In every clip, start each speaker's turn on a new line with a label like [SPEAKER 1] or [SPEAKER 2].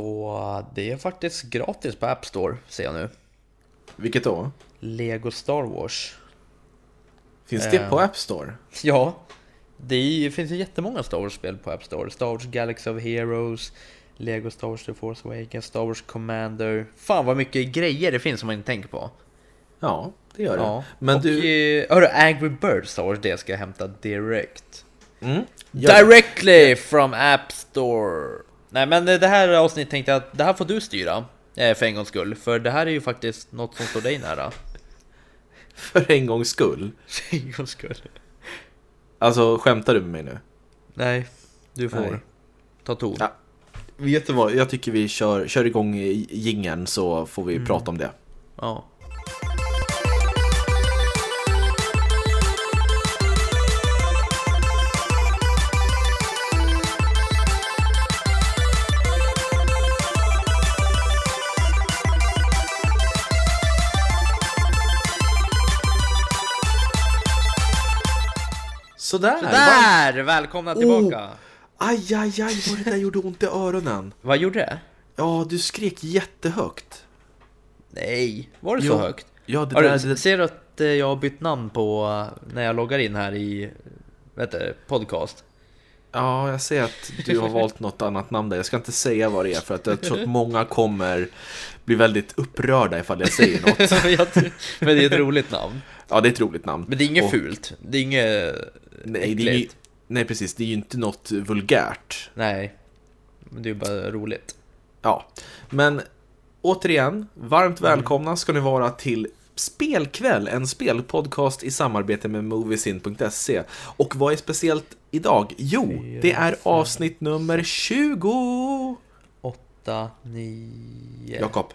[SPEAKER 1] Så det är faktiskt gratis på App Store, ser jag nu.
[SPEAKER 2] Vilket då?
[SPEAKER 1] Lego Star Wars.
[SPEAKER 2] Finns det på App Store?
[SPEAKER 1] Ja, det är- finns ju jättemånga Star Wars-spel på App Store. Star Wars Galaxy of Heroes, Lego Star Wars The Force Awakens, Star Wars Commander. Fan vad mycket grejer det finns som man inte tänker på.
[SPEAKER 2] Ja, det gör det.
[SPEAKER 1] Ja.
[SPEAKER 2] Men
[SPEAKER 1] och,
[SPEAKER 2] du...
[SPEAKER 1] eh, Hörru, Angry Birds Star Wars, det ska jag hämta direkt.
[SPEAKER 2] Mm, gör det.
[SPEAKER 1] Directly from App Store! Nej men eh, det här avsnittet tänkte jag att det här får du styra. eh, För en gångs skull, för det här är ju faktiskt något som står dig nära.
[SPEAKER 2] För en gångs skull.
[SPEAKER 1] För en gångs skull.
[SPEAKER 2] Alltså, skämtar du med mig nu?
[SPEAKER 1] Nej, du får
[SPEAKER 2] Nej.
[SPEAKER 1] ta ton.
[SPEAKER 2] Ja. Vet du vad, jag tycker vi kör, kör igång gingen så får vi prata om det.
[SPEAKER 1] Ja.
[SPEAKER 2] Sådär! Var... Oh.
[SPEAKER 1] Där! Välkomna tillbaka!
[SPEAKER 2] Aj, aj, aj, vad det där gjorde ont i öronen.
[SPEAKER 1] Vad gjorde det?
[SPEAKER 2] Ja, du skrek jättehögt.
[SPEAKER 1] Nej, var det
[SPEAKER 2] Jo.
[SPEAKER 1] så högt?
[SPEAKER 2] Ja, det
[SPEAKER 1] Har
[SPEAKER 2] där...
[SPEAKER 1] du,
[SPEAKER 2] Det...
[SPEAKER 1] ser du att eh, jag har bytt namn på eh, när jag loggar in här i vet du, podcast?
[SPEAKER 2] Ja, jag ser att du har valt något annat namn där. Jag ska inte säga vad det är för att jag tror att många kommer bli väldigt upprörda ifall jag säger något.
[SPEAKER 1] Jag tror- Men det är ett roligt namn.
[SPEAKER 2] Ja, det är ett roligt namn.
[SPEAKER 1] Men det är inget
[SPEAKER 2] Och-
[SPEAKER 1] fult. Det är inget
[SPEAKER 2] Nej, det är ju,
[SPEAKER 1] äckligt.
[SPEAKER 2] nej, precis. Det är ju inte något vulgärt.
[SPEAKER 1] Nej, men det är ju bara roligt.
[SPEAKER 2] Ja, men återigen, varmt
[SPEAKER 1] Mm.
[SPEAKER 2] välkomna ska ni vara till Spelkväll, en spelpodcast i samarbete med Moviesin.se. Och vad är speciellt idag? Jo, det är avsnitt nummer 20!
[SPEAKER 1] 8, 9...
[SPEAKER 2] Jakob,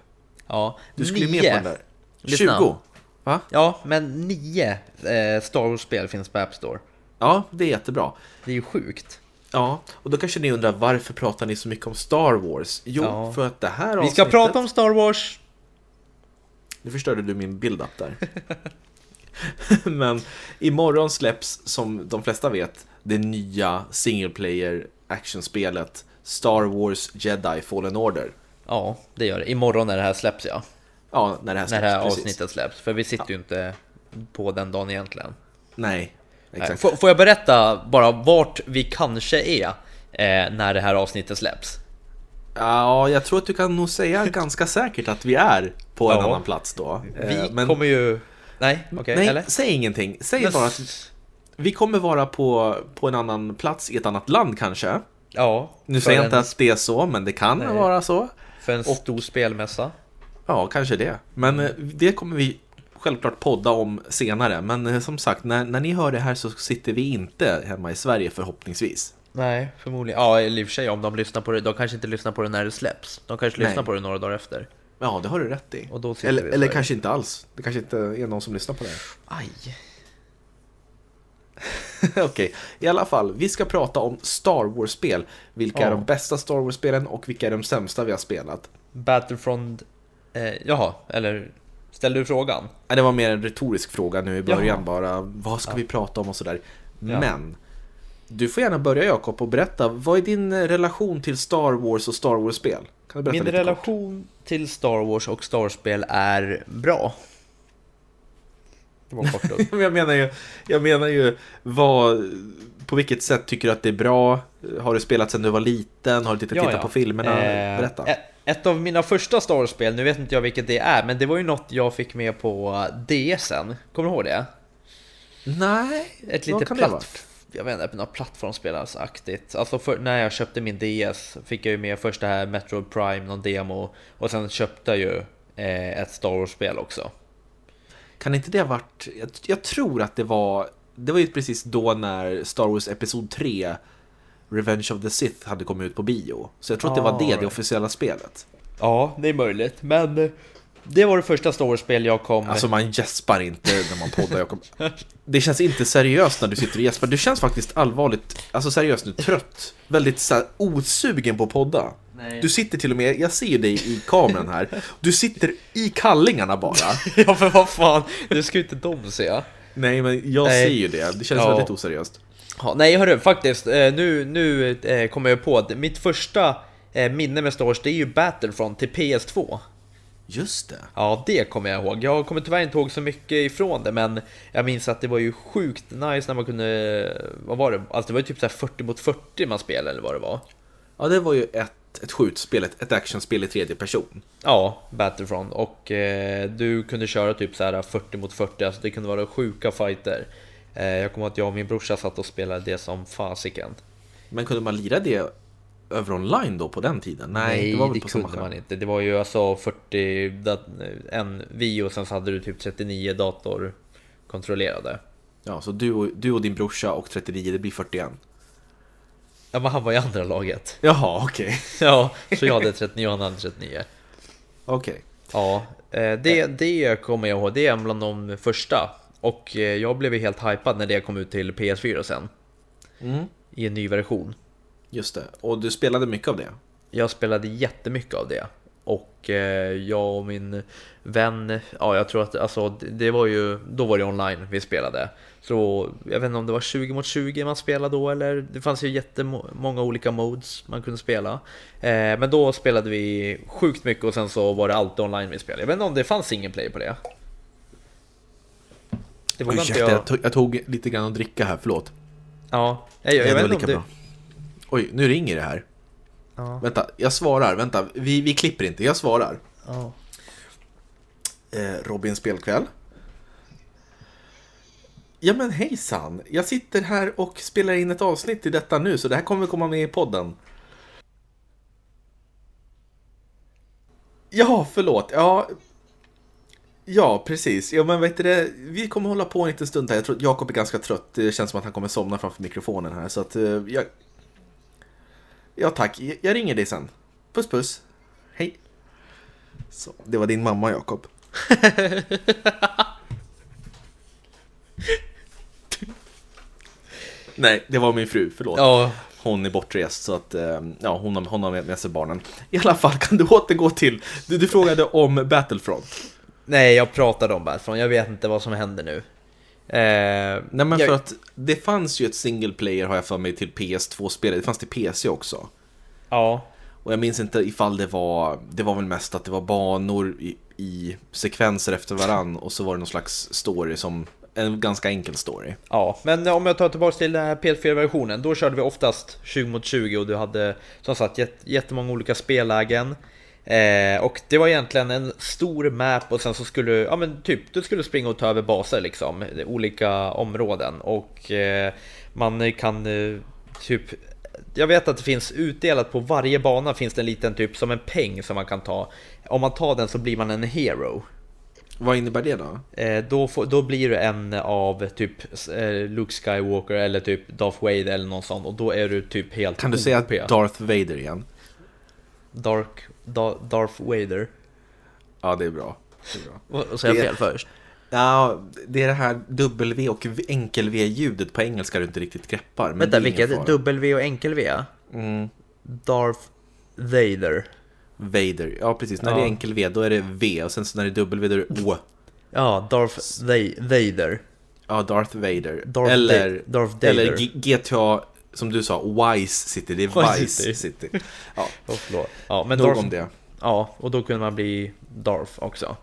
[SPEAKER 1] Ja,
[SPEAKER 2] du skulle ju med
[SPEAKER 1] nio.
[SPEAKER 2] på den där.
[SPEAKER 1] Lyssna.
[SPEAKER 2] 20! Va?
[SPEAKER 1] Ja, men 9 eh, Star Wars-spel finns på App Store.
[SPEAKER 2] Ja, det är jättebra.
[SPEAKER 1] Det är ju sjukt.
[SPEAKER 2] Ja, och då kanske ni undrar varför pratar ni så mycket om Star Wars? Jo,
[SPEAKER 1] Ja.
[SPEAKER 2] för att det här
[SPEAKER 1] Vi ska prata om Star Wars!
[SPEAKER 2] Nu förstörde du min build-up där. Men imorgon släpps, som de flesta vet, det nya single player actionspelet Star Wars Jedi Fallen Order.
[SPEAKER 1] Ja, det gör det. Imorgon när det här släpps ja.
[SPEAKER 2] Ja, när det här
[SPEAKER 1] När
[SPEAKER 2] släpps.
[SPEAKER 1] det här
[SPEAKER 2] precis.
[SPEAKER 1] avsnittet släpps. För vi sitter ju inte på den dagen egentligen.
[SPEAKER 2] Nej,
[SPEAKER 1] Eh,
[SPEAKER 2] exakt.
[SPEAKER 1] Får, får jag berätta bara vart vi kanske är eh, när det här avsnittet släpps?
[SPEAKER 2] Ja, jag tror att du kan nog säga ganska säkert att vi är på en
[SPEAKER 1] Ja.
[SPEAKER 2] annan plats då.
[SPEAKER 1] Vi
[SPEAKER 2] Eh, men-
[SPEAKER 1] kommer ju... Nej, okej,
[SPEAKER 2] Nej,
[SPEAKER 1] eller?
[SPEAKER 2] säg ingenting. Säg
[SPEAKER 1] Men-
[SPEAKER 2] bara att vi kommer vara på, på en annan plats i ett annat land kanske.
[SPEAKER 1] Ja,
[SPEAKER 2] Nu
[SPEAKER 1] för
[SPEAKER 2] säger jag
[SPEAKER 1] en,
[SPEAKER 2] inte att det är så, men det kan vara så.
[SPEAKER 1] För en stor spelmässa.
[SPEAKER 2] Ja, kanske det. Men eh, det kommer vi självklart podda om senare. Men eh, som sagt, när, när ni hör det här så sitter vi inte hemma i Sverige förhoppningsvis.
[SPEAKER 1] Nej, förmodligen. Ja, eller i och för sig om de lyssnar på det. De kanske inte lyssnar på det när det släpps. De kanske
[SPEAKER 2] Nej.
[SPEAKER 1] lyssnar på det några dagar efter.
[SPEAKER 2] Ja, det har du rätt i.
[SPEAKER 1] Och då sitter
[SPEAKER 2] Eller,
[SPEAKER 1] vi i
[SPEAKER 2] eller
[SPEAKER 1] Sverige.
[SPEAKER 2] kanske inte alls. Det kanske inte är någon som lyssnar på det här.
[SPEAKER 1] Aj.
[SPEAKER 2] Okej, i alla fall. Vi ska prata om Star Wars-spel. Vilka
[SPEAKER 1] Ja.
[SPEAKER 2] är de bästa Star Wars-spelen och vilka är de sämsta vi har spelat?
[SPEAKER 1] Battlefront... Eh, jaha, eller ställde du frågan?
[SPEAKER 2] Nej, Det var mer en retorisk fråga nu i början
[SPEAKER 1] Jaha.
[SPEAKER 2] bara. Vad ska vi prata om och sådär.
[SPEAKER 1] Ja.
[SPEAKER 2] Men du får gärna börja Jakob och berätta. Vad är din eh, relation till Star Wars och Star Wars-spel? Kan du berätta
[SPEAKER 1] Min
[SPEAKER 2] lite kort?
[SPEAKER 1] relation till Star Wars och Star Wars-spel är bra. Det var kort och...
[SPEAKER 2] Men Jag menar ju, jag menar ju vad, på vilket sätt tycker du att det är bra? Har du spelat sedan du var liten? Har du tittat, tittat på filmerna?
[SPEAKER 1] Eh,
[SPEAKER 2] Berätta.
[SPEAKER 1] e- Ett av mina första Star Wars-spel, nu vet inte jag vilket det är, men det var ju något jag fick med på DSen. Kommer du ihåg det?
[SPEAKER 2] Nej,
[SPEAKER 1] Ett
[SPEAKER 2] vad
[SPEAKER 1] litet
[SPEAKER 2] kan det ha varit?
[SPEAKER 1] platt... Jag vet inte, något plattformsspelarsaktigt. Alltså för, när jag köpte min DS fick jag ju med först det här Metroid Prime, någon demo. Och sen köpte jag ju eh, ett Star Wars-spel också.
[SPEAKER 2] Kan inte det ha varit, jag, jag tror att det var, det var ju precis då när Star Wars Episod 3 Revenge of the Sith hade kommit ut på bio. Så jag tror att det var det,
[SPEAKER 1] Ah,
[SPEAKER 2] det
[SPEAKER 1] right.
[SPEAKER 2] officiella spelet.
[SPEAKER 1] Ja, det är möjligt, men eh, det var det första Star Wars-spel jag kom...
[SPEAKER 2] Alltså man gäspar inte när man poddar Jakob. Det känns inte seriöst när du sitter och gäspar. Du känns faktiskt allvarligt, alltså seriöst nu, trött. Väldigt så här, osugen på att podda.
[SPEAKER 1] Nej.
[SPEAKER 2] Du sitter till och med, jag ser ju dig i kameran här, du sitter i kallingarna bara.
[SPEAKER 1] ja, för vad fan, det ska ju inte de se.
[SPEAKER 2] Nej men jag
[SPEAKER 1] Nej.
[SPEAKER 2] ser ju det, det känns
[SPEAKER 1] Ja.
[SPEAKER 2] väldigt oseriöst.
[SPEAKER 1] Ja, nej hörru, faktiskt. eh, Nu, nu eh, kommer jag på att mitt första eh, minne med Star Wars, det är ju Battlefront till PS2.
[SPEAKER 2] Just det.
[SPEAKER 1] Ja, det kommer jag ihåg. Jag kommer tyvärr inte ihåg så mycket ifrån det, men jag minns att det var ju sjukt nice när man kunde... Vad var det? Alltså det var ju typ så här 40 mot 40 man spelade eller vad det var.
[SPEAKER 2] Ja, det var ju ett, ett skjutspel, ett, ett actionspel i tredje person.
[SPEAKER 1] Ja, Battlefront. Och eh, du kunde köra typ så här 40 mot 40, alltså det kunde vara sjuka fighter. Eh, jag kommer ihåg att jag och min brorsa satt och spelade det som fasiken.
[SPEAKER 2] Men kunde man lira det över online då på den tiden? Nej,
[SPEAKER 1] Nej,
[SPEAKER 2] det var väl
[SPEAKER 1] det
[SPEAKER 2] på samma
[SPEAKER 1] kunde man
[SPEAKER 2] skärm.
[SPEAKER 1] inte. Det var ju alltså 40, dat- en vi och sen så hade du typ 39 datorkontrollerade.
[SPEAKER 2] Ja, så du och, du och din brorsa och 39, det blir 41.
[SPEAKER 1] Ja, men han var i andra laget.
[SPEAKER 2] Jaha, okej.
[SPEAKER 1] Ja, så jag hade 39 och han hade 39.
[SPEAKER 2] Okej.
[SPEAKER 1] Ja, eh, det, det kommer jag ihåg. Det är bland de första. Och eh, jag blev ju helt hypad när det kom ut till PS4 sen.
[SPEAKER 2] Mm,
[SPEAKER 1] I en ny version.
[SPEAKER 2] just det. Och du spelade mycket av det?
[SPEAKER 1] Jag spelade jättemycket av det. Och eh, jag och min vän, ja jag tror att alltså, det- det var ju, då var det online vi spelade. Så jag vet inte om det var 20 mot 20 man spelade då eller det fanns ju jättemånga olika modes man kunde spela. Eh, men då spelade vi sjukt mycket och sen så var det alltid online vi spelade. Jag vet inte om det fanns single player på det. Det vågar inte
[SPEAKER 2] Ursäkta,
[SPEAKER 1] jag.
[SPEAKER 2] jag, tog, jag tog lite grann att dricka här, förlåt.
[SPEAKER 1] Ja, jag, jag, jag
[SPEAKER 2] Det
[SPEAKER 1] vet
[SPEAKER 2] var
[SPEAKER 1] inte om
[SPEAKER 2] lika
[SPEAKER 1] det...
[SPEAKER 2] bra. Oj, nu ringer det här.
[SPEAKER 1] Ja,
[SPEAKER 2] Vänta, jag svarar. Vänta, vi, vi klipper inte. Jag svarar.
[SPEAKER 1] ja.
[SPEAKER 2] Eh, Robin spelkväll. Ja men hejsan! Jag sitter här och spelar in ett avsnitt i detta nu, så det här kommer komma med i podden. Ja, förlåt. Ja, ja precis. Ja, men vet du det? Vi kommer hålla på en liten stund här. Jag tror att Jakob är ganska trött. Det känns som att han kommer somna framför mikrofonen här. Så att, eh, jag... Ja, tack. Jag- Jag ringer dig sen. Puss, puss. Hej. Så, det var din mamma, Jakob. Nej, det var min fru, förlåt.
[SPEAKER 1] ja.
[SPEAKER 2] Hon är bortrest så att eh, ja, hon, har, hon har med med sig barnen. I alla fall kan du återgå till, du, du frågade om Battlefront.
[SPEAKER 1] Nej, jag pratade om Battlefront. Jag vet inte vad som händer nu. Eh,
[SPEAKER 2] Nej men
[SPEAKER 1] jag,
[SPEAKER 2] för att det fanns ju ett single player har jag för mig till PS2-spelet, det fanns till PC också.
[SPEAKER 1] Ja,
[SPEAKER 2] Och jag minns inte ifall det var, det var väl mest att det var banor i, i sekvenser efter varann och så var det någon slags story som, en ganska enkel story.
[SPEAKER 1] ja. Men om jag tar tillbaka till den här PS4-versionen. Då körde vi oftast 20 mot 20 och du hade som sagt jätt, jättemånga olika spellägen. Eh, och det var egentligen en stor map och sen så skulle du, ja men typ, du skulle springa och ta över baser liksom. Olika områden och eh, man kan eh, typ Jag vet att det finns utdelat på varje bana finns det en liten typ som en peng som man kan ta. Om man tar den så blir man en hero.
[SPEAKER 2] Vad innebär det då?
[SPEAKER 1] Eh, då, får, då blir du en av typ eh, Luke Skywalker eller typ Darth Vader eller någon sån och då är du typ helt
[SPEAKER 2] Kan du säga
[SPEAKER 1] OP.
[SPEAKER 2] Mm. Darth Vader igen?
[SPEAKER 1] Dark, da, Darth Vader?
[SPEAKER 2] Ja, det är bra. Det är bra.
[SPEAKER 1] Vad säger jag
[SPEAKER 2] Det-
[SPEAKER 1] fel först?
[SPEAKER 2] Ja, det är det här W och enkel-V-ljudet på engelska du inte riktigt greppar. Men
[SPEAKER 1] Vänta,
[SPEAKER 2] det är ingen
[SPEAKER 1] vilket?
[SPEAKER 2] fara.
[SPEAKER 1] W och enkel-V?
[SPEAKER 2] Mm,
[SPEAKER 1] Darth Vader.
[SPEAKER 2] Vader. Ja, precis. När
[SPEAKER 1] Ja.
[SPEAKER 2] det är enkel-V, då är det V. Och sen så när det är W, då är det O.
[SPEAKER 1] Ja, Darth Va- Vader.
[SPEAKER 2] Ja, Darth Vader.
[SPEAKER 1] Darth
[SPEAKER 2] eller,
[SPEAKER 1] Da- Darth Vader.
[SPEAKER 2] eller G- GTA, som du sa, Wise City. Det är
[SPEAKER 1] Vice
[SPEAKER 2] Vice
[SPEAKER 1] City.
[SPEAKER 2] City. Ja,
[SPEAKER 1] Oh, förlåt. ja, men
[SPEAKER 2] nog
[SPEAKER 1] Darth,
[SPEAKER 2] om det.
[SPEAKER 1] ja, och då kunde man bli Darth också.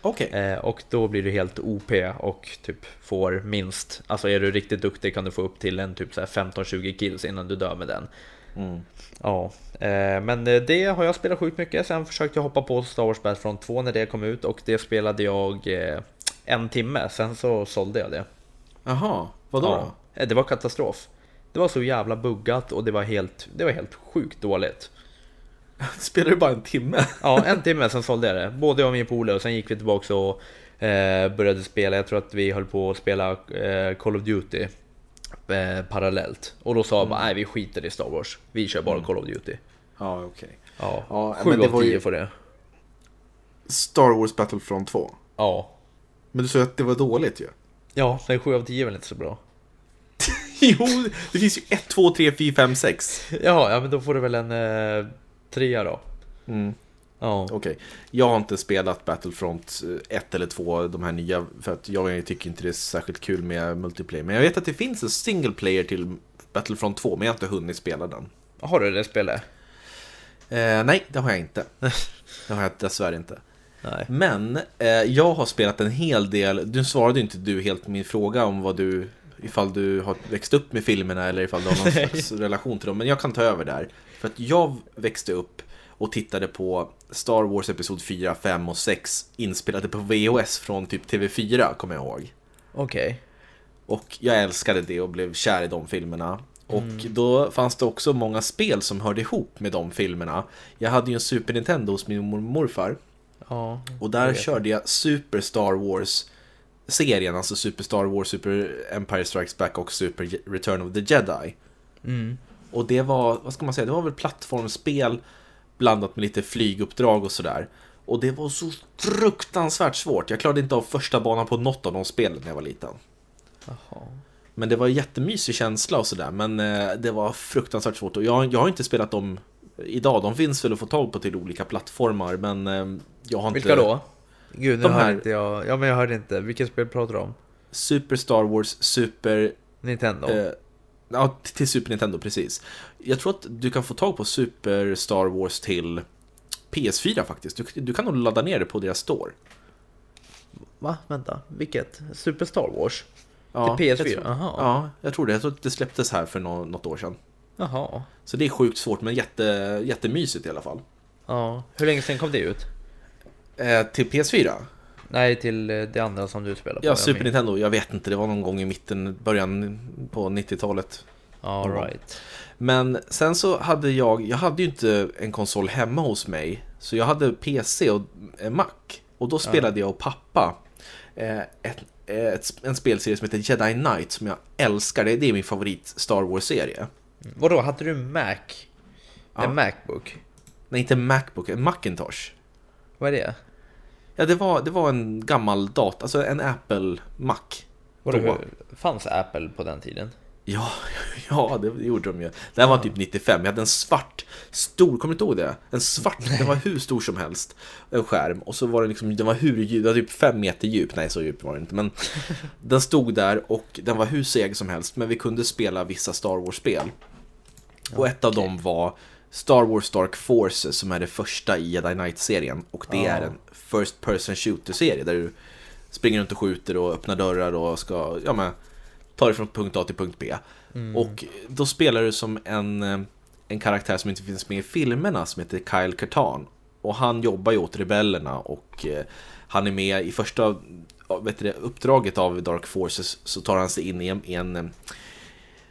[SPEAKER 2] Okej.
[SPEAKER 1] Eh, och då blir du helt OP och typ får minst, alltså är du riktigt duktig kan du få upp till en typ så här 15-20 kills innan du dör med den.
[SPEAKER 2] Mm.
[SPEAKER 1] Ja, eh, men eh, det har jag spelat sjukt mycket. Sen försökte jag hoppa på Star Wars Battlefront 2 när det kom ut och det spelade jag eh, en timme, sen så sålde jag det.
[SPEAKER 2] Jaha, vadå då?
[SPEAKER 1] Ja, eh, det var katastrof. Det var så jävla buggat och det var helt, det var helt sjukt dåligt.
[SPEAKER 2] Spelar du bara en timme?
[SPEAKER 1] Ja, en timme, sen sålde jag det. Både jag och min polare, och sen gick vi tillbaka och eh, började spela. Jag tror att vi höll på att spela eh, Call of Duty eh, parallellt. Och då sa jag bara, nej vi skiter i Star Wars. Vi kör bara Call of Duty.
[SPEAKER 2] Mm. Ja, okej.
[SPEAKER 1] Ja,
[SPEAKER 2] Ja, men
[SPEAKER 1] 7
[SPEAKER 2] det
[SPEAKER 1] av
[SPEAKER 2] var ju-
[SPEAKER 1] 10 för det.
[SPEAKER 2] Star Wars Battlefront 2.
[SPEAKER 1] Ja.
[SPEAKER 2] Men du sa ju att det var dåligt ju.
[SPEAKER 1] Ja, men 7 av 10 är väl inte så bra.
[SPEAKER 2] jo, det finns ju 1, 2, 3, 4, 5, 6.
[SPEAKER 1] Ja, ja men då får du väl en eh, trea då.
[SPEAKER 2] Mm.
[SPEAKER 1] Ja.
[SPEAKER 2] Okej, jag har inte spelat Battlefront 1 eller 2, de här nya, för att jag tycker inte det är särskilt kul med multiplayer. Men jag vet att det finns en single player till Battlefront 2, men jag har inte hunnit spela den.
[SPEAKER 1] Har du det spelet?
[SPEAKER 2] Eh, nej, det har jag inte. Det har jag dessvärre inte.
[SPEAKER 1] Nej.
[SPEAKER 2] Men eh, jag har spelat en hel del, du svarade ju inte du helt på min fråga om vad du, ifall du har växt upp med filmerna eller ifall du har någon slags relation till dem, men jag kan ta över där. För att jag växte upp och tittade på Star Wars Episod 4, 5 och 6 inspelade på VHS från typ TV4, kommer jag ihåg.
[SPEAKER 1] Okej.
[SPEAKER 2] Och jag älskade det och blev kär i de filmerna. Och då fanns det också många spel som hörde ihop med de filmerna. Jag hade ju en Super Nintendo hos min mormor och morfar.
[SPEAKER 1] Ja.
[SPEAKER 2] Och där körde jag Super Star Wars-serien, alltså Super Star Wars, Super Empire Strikes Back och Super Je- Return of the Jedi.
[SPEAKER 1] Mm.
[SPEAKER 2] Och det var, vad ska man säga, det var väl plattformsspel blandat med lite flyguppdrag och sådär. Och det var så fruktansvärt svårt. Jag klarade inte av första banan på något av de spelen när jag var liten.
[SPEAKER 1] Jaha.
[SPEAKER 2] Men det var en jättemysig känsla och sådär. Men eh, det var fruktansvärt svårt. Och jag, jag har inte spelat dem idag. De finns väl att få tag på till olika plattformar. Men eh, jag har
[SPEAKER 1] Vilka
[SPEAKER 2] inte...
[SPEAKER 1] då? Gud, nu
[SPEAKER 2] De
[SPEAKER 1] hörde
[SPEAKER 2] här-
[SPEAKER 1] inte jag. Ja, men jag hörde inte. Vilket spel pratar du om?
[SPEAKER 2] Super Star Wars, Super...
[SPEAKER 1] Nintendo?
[SPEAKER 2] Eh, ja, t- till Super Nintendo, precis. Jag tror att du kan få tag på Super Star Wars till PS4 faktiskt. Du, du kan nog ladda ner det på deras store.
[SPEAKER 1] Va? Vänta. Vilket? Super Star Wars?
[SPEAKER 2] Ja,
[SPEAKER 1] Till
[SPEAKER 2] jag
[SPEAKER 1] PS4?
[SPEAKER 2] tror-
[SPEAKER 1] Jaha.
[SPEAKER 2] Ja, jag tror det. Jag tror att det släpptes här för nå- något år sedan.
[SPEAKER 1] Jaha.
[SPEAKER 2] Så det är sjukt svårt, men jätte, jättemysigt i alla fall.
[SPEAKER 1] Ja. Hur länge sedan kom det ut?
[SPEAKER 2] Eh, till PS4?
[SPEAKER 1] Nej, till eh, det andra som du spelar på.
[SPEAKER 2] Ja,
[SPEAKER 1] jag
[SPEAKER 2] Super
[SPEAKER 1] minns.
[SPEAKER 2] Nintendo. Jag vet inte, det var någon gång i mitten, början på 90-talet.
[SPEAKER 1] All right.
[SPEAKER 2] Men sen så hade jag, jag hade ju inte en konsol hemma hos mig. Så jag hade PC och eh, Mac. Och då spelade jag och pappa eh, ett, eh, ett, sp- en spelserie som heter Jedi Knight som jag älskar. Det det är min favorit Star Wars-serie.
[SPEAKER 1] Vadå, hade du Mac?
[SPEAKER 2] Ja.
[SPEAKER 1] En Macbook?
[SPEAKER 2] Nej, inte Macbook, en Macintosh.
[SPEAKER 1] Vad är det?
[SPEAKER 2] Ja, det var, det var en gammal dator, alltså en Apple Mac.
[SPEAKER 1] Vadå,
[SPEAKER 2] Då.
[SPEAKER 1] hur- fanns Apple på den tiden?
[SPEAKER 2] Ja, ja, det gjorde de ju. Det här var typ 95. Jag hade en svart, stor, kommer du inte ihåg det? En svart, den var hur stor som helst. En skärm. Och så var den liksom, den var hur djup, den var typ fem meter djup. Nej, så djup var den inte. Men den stod där och den var hur seg som helst. Men vi kunde spela vissa Star Wars-spel. Och ett av dem var Star Wars Dark Forces som är det första i Jedi Knight-serien. Och det
[SPEAKER 1] Ja.
[SPEAKER 2] är en First Person Shooter-serie där du springer runt och skjuter och öppnar dörrar och ska ja, men, ta dig från punkt A till punkt B. Och då spelar du som en, eh, en karaktär som inte finns med i filmerna som heter Kyle Katarn. Och han jobbar ju åt rebellerna och eh, han är med i första ja, vet du, det, uppdraget av Dark Forces så tar han sig in i en, i en eh,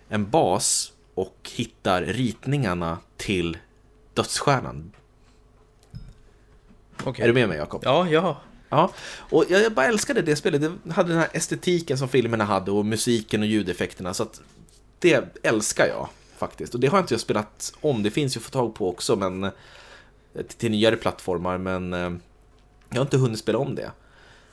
[SPEAKER 2] en bas och hittar ritningarna till dödsstjärnan.
[SPEAKER 1] Okej.
[SPEAKER 2] Är du med mig Jakob?
[SPEAKER 1] Ja, ja.
[SPEAKER 2] Ja, och jag jag bara älskade det spelet. Det hade den här estetiken som filmerna hade och musiken och ljudeffekterna. Så att det älskar jag faktiskt. Och det har inte jag spelat om. Det finns ju att få tag på också, men eh, till- till nyare plattformar. Men eh, jag har inte hunnit spela om det.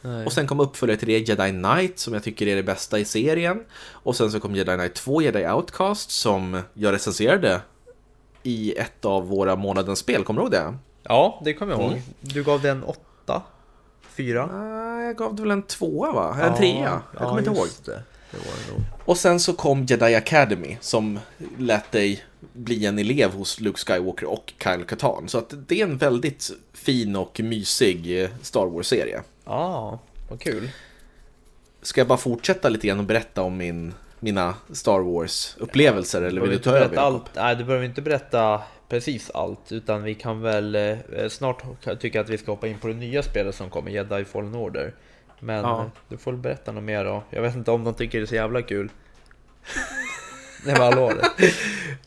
[SPEAKER 1] Nej.
[SPEAKER 2] Och sen kom uppföljare till det, Jedi Knight, som jag tycker är det bästa i serien. Och sen så kom Jedi Knight 2, Jedi Outcast, som jag recenserade i ett av våra månadens spel, kommer du ihåg det?
[SPEAKER 1] Ja, det kommer jag ihåg.
[SPEAKER 2] Mm.
[SPEAKER 1] Du gav den åtta? Fyra?
[SPEAKER 2] Ah, Jag gav det väl en tvåa va? Eller en trea? Jag kommer inte ihåg.
[SPEAKER 1] just Det. det var det nog.
[SPEAKER 2] Och sen så kom Jedi Academy som lät dig bli en elev hos Luke Skywalker och Kyle Katarn. Så att det är en väldigt fin och mysig eh, Star Wars-serie.
[SPEAKER 1] Ja, vad kul.
[SPEAKER 2] Ska jag bara fortsätta lite grann och berätta om min, mina Star Wars-upplevelser? Eller vill du ta över?
[SPEAKER 1] berätta
[SPEAKER 2] Jakob?
[SPEAKER 1] allt? Nej, du behöver inte berätta precis allt, utan vi kan väl eh, snart tycka att vi ska hoppa in på det nya spelet som kommer, Jedi Fallen Order. Men
[SPEAKER 2] Ja.
[SPEAKER 1] eh, du får väl berätta något mer då. Jag vet inte om de tycker det är så jävla kul. Nej men hallå det.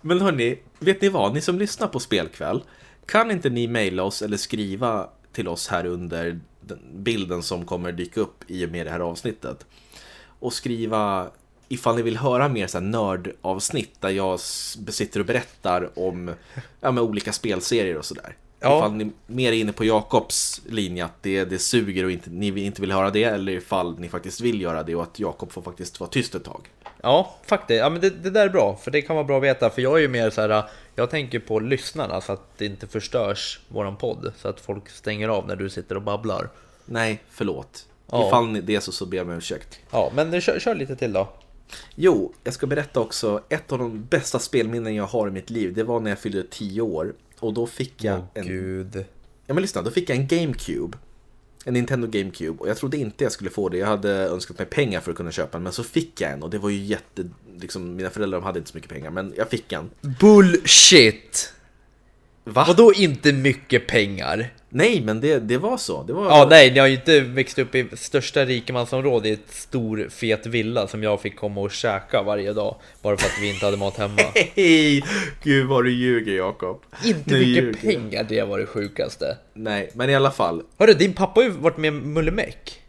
[SPEAKER 2] Men hörni, vet ni vad? Ni som lyssnar på Spelkväll, kan inte ni mejla oss eller skriva till oss här under den bilden som kommer dyka upp i och med det här avsnittet? Och skriva ifall ni vill höra mer så här nördavsnitt där jag s- sitter och berättar om ja, med olika spelserier och sådär.
[SPEAKER 1] Ja.
[SPEAKER 2] Ifall ni mer är inne på Jakobs linje att det, det suger och inte, ni inte vill höra det eller ifall ni faktiskt vill göra det och att Jakob får faktiskt vara tyst ett tag.
[SPEAKER 1] Ja, faktiskt. Ja, men det, det där är bra, för det kan vara bra att veta. För jag är ju mer så här, eh, jag tänker på lyssnarna så att det inte förstörs våran podd. Så att folk stänger av när du sitter och babblar.
[SPEAKER 2] Nej, förlåt.
[SPEAKER 1] Ja.
[SPEAKER 2] Ifall ni, det är så, så ber jag om ursäkt.
[SPEAKER 1] Ja, men kör, kör lite till då.
[SPEAKER 2] Jo, jag ska berätta också. Ett av de bästa spelminnen jag har i mitt liv, det var när jag fyllde 10 år. och då fick jag
[SPEAKER 1] Åh
[SPEAKER 2] en...
[SPEAKER 1] gud.
[SPEAKER 2] Ja men lyssna, då fick jag en GameCube. En Nintendo GameCube och jag trodde inte jag skulle få det. Jag hade önskat mig pengar för att kunna köpa en men så fick jag en och det var ju jätte... Liksom, mina föräldrar de hade inte så mycket pengar men jag fick en.
[SPEAKER 1] Bullshit!
[SPEAKER 2] Va?
[SPEAKER 1] Vadå inte mycket pengar?
[SPEAKER 2] Nej men det, det var så. Det var...
[SPEAKER 1] Ja, nej, jag har ju inte växt upp i största rikemansområde i ett stor fet villa som jag fick komma och käka varje dag bara för att vi inte hade mat hemma.
[SPEAKER 2] Hej! Gud vad du ljuger Jakob.
[SPEAKER 1] inte
[SPEAKER 2] Nu
[SPEAKER 1] mycket
[SPEAKER 2] ljuger jag.
[SPEAKER 1] pengar, det var det sjukaste.
[SPEAKER 2] Nej, men i alla fall.
[SPEAKER 1] Hörru, din pappa har ju varit med i Mulle Meck.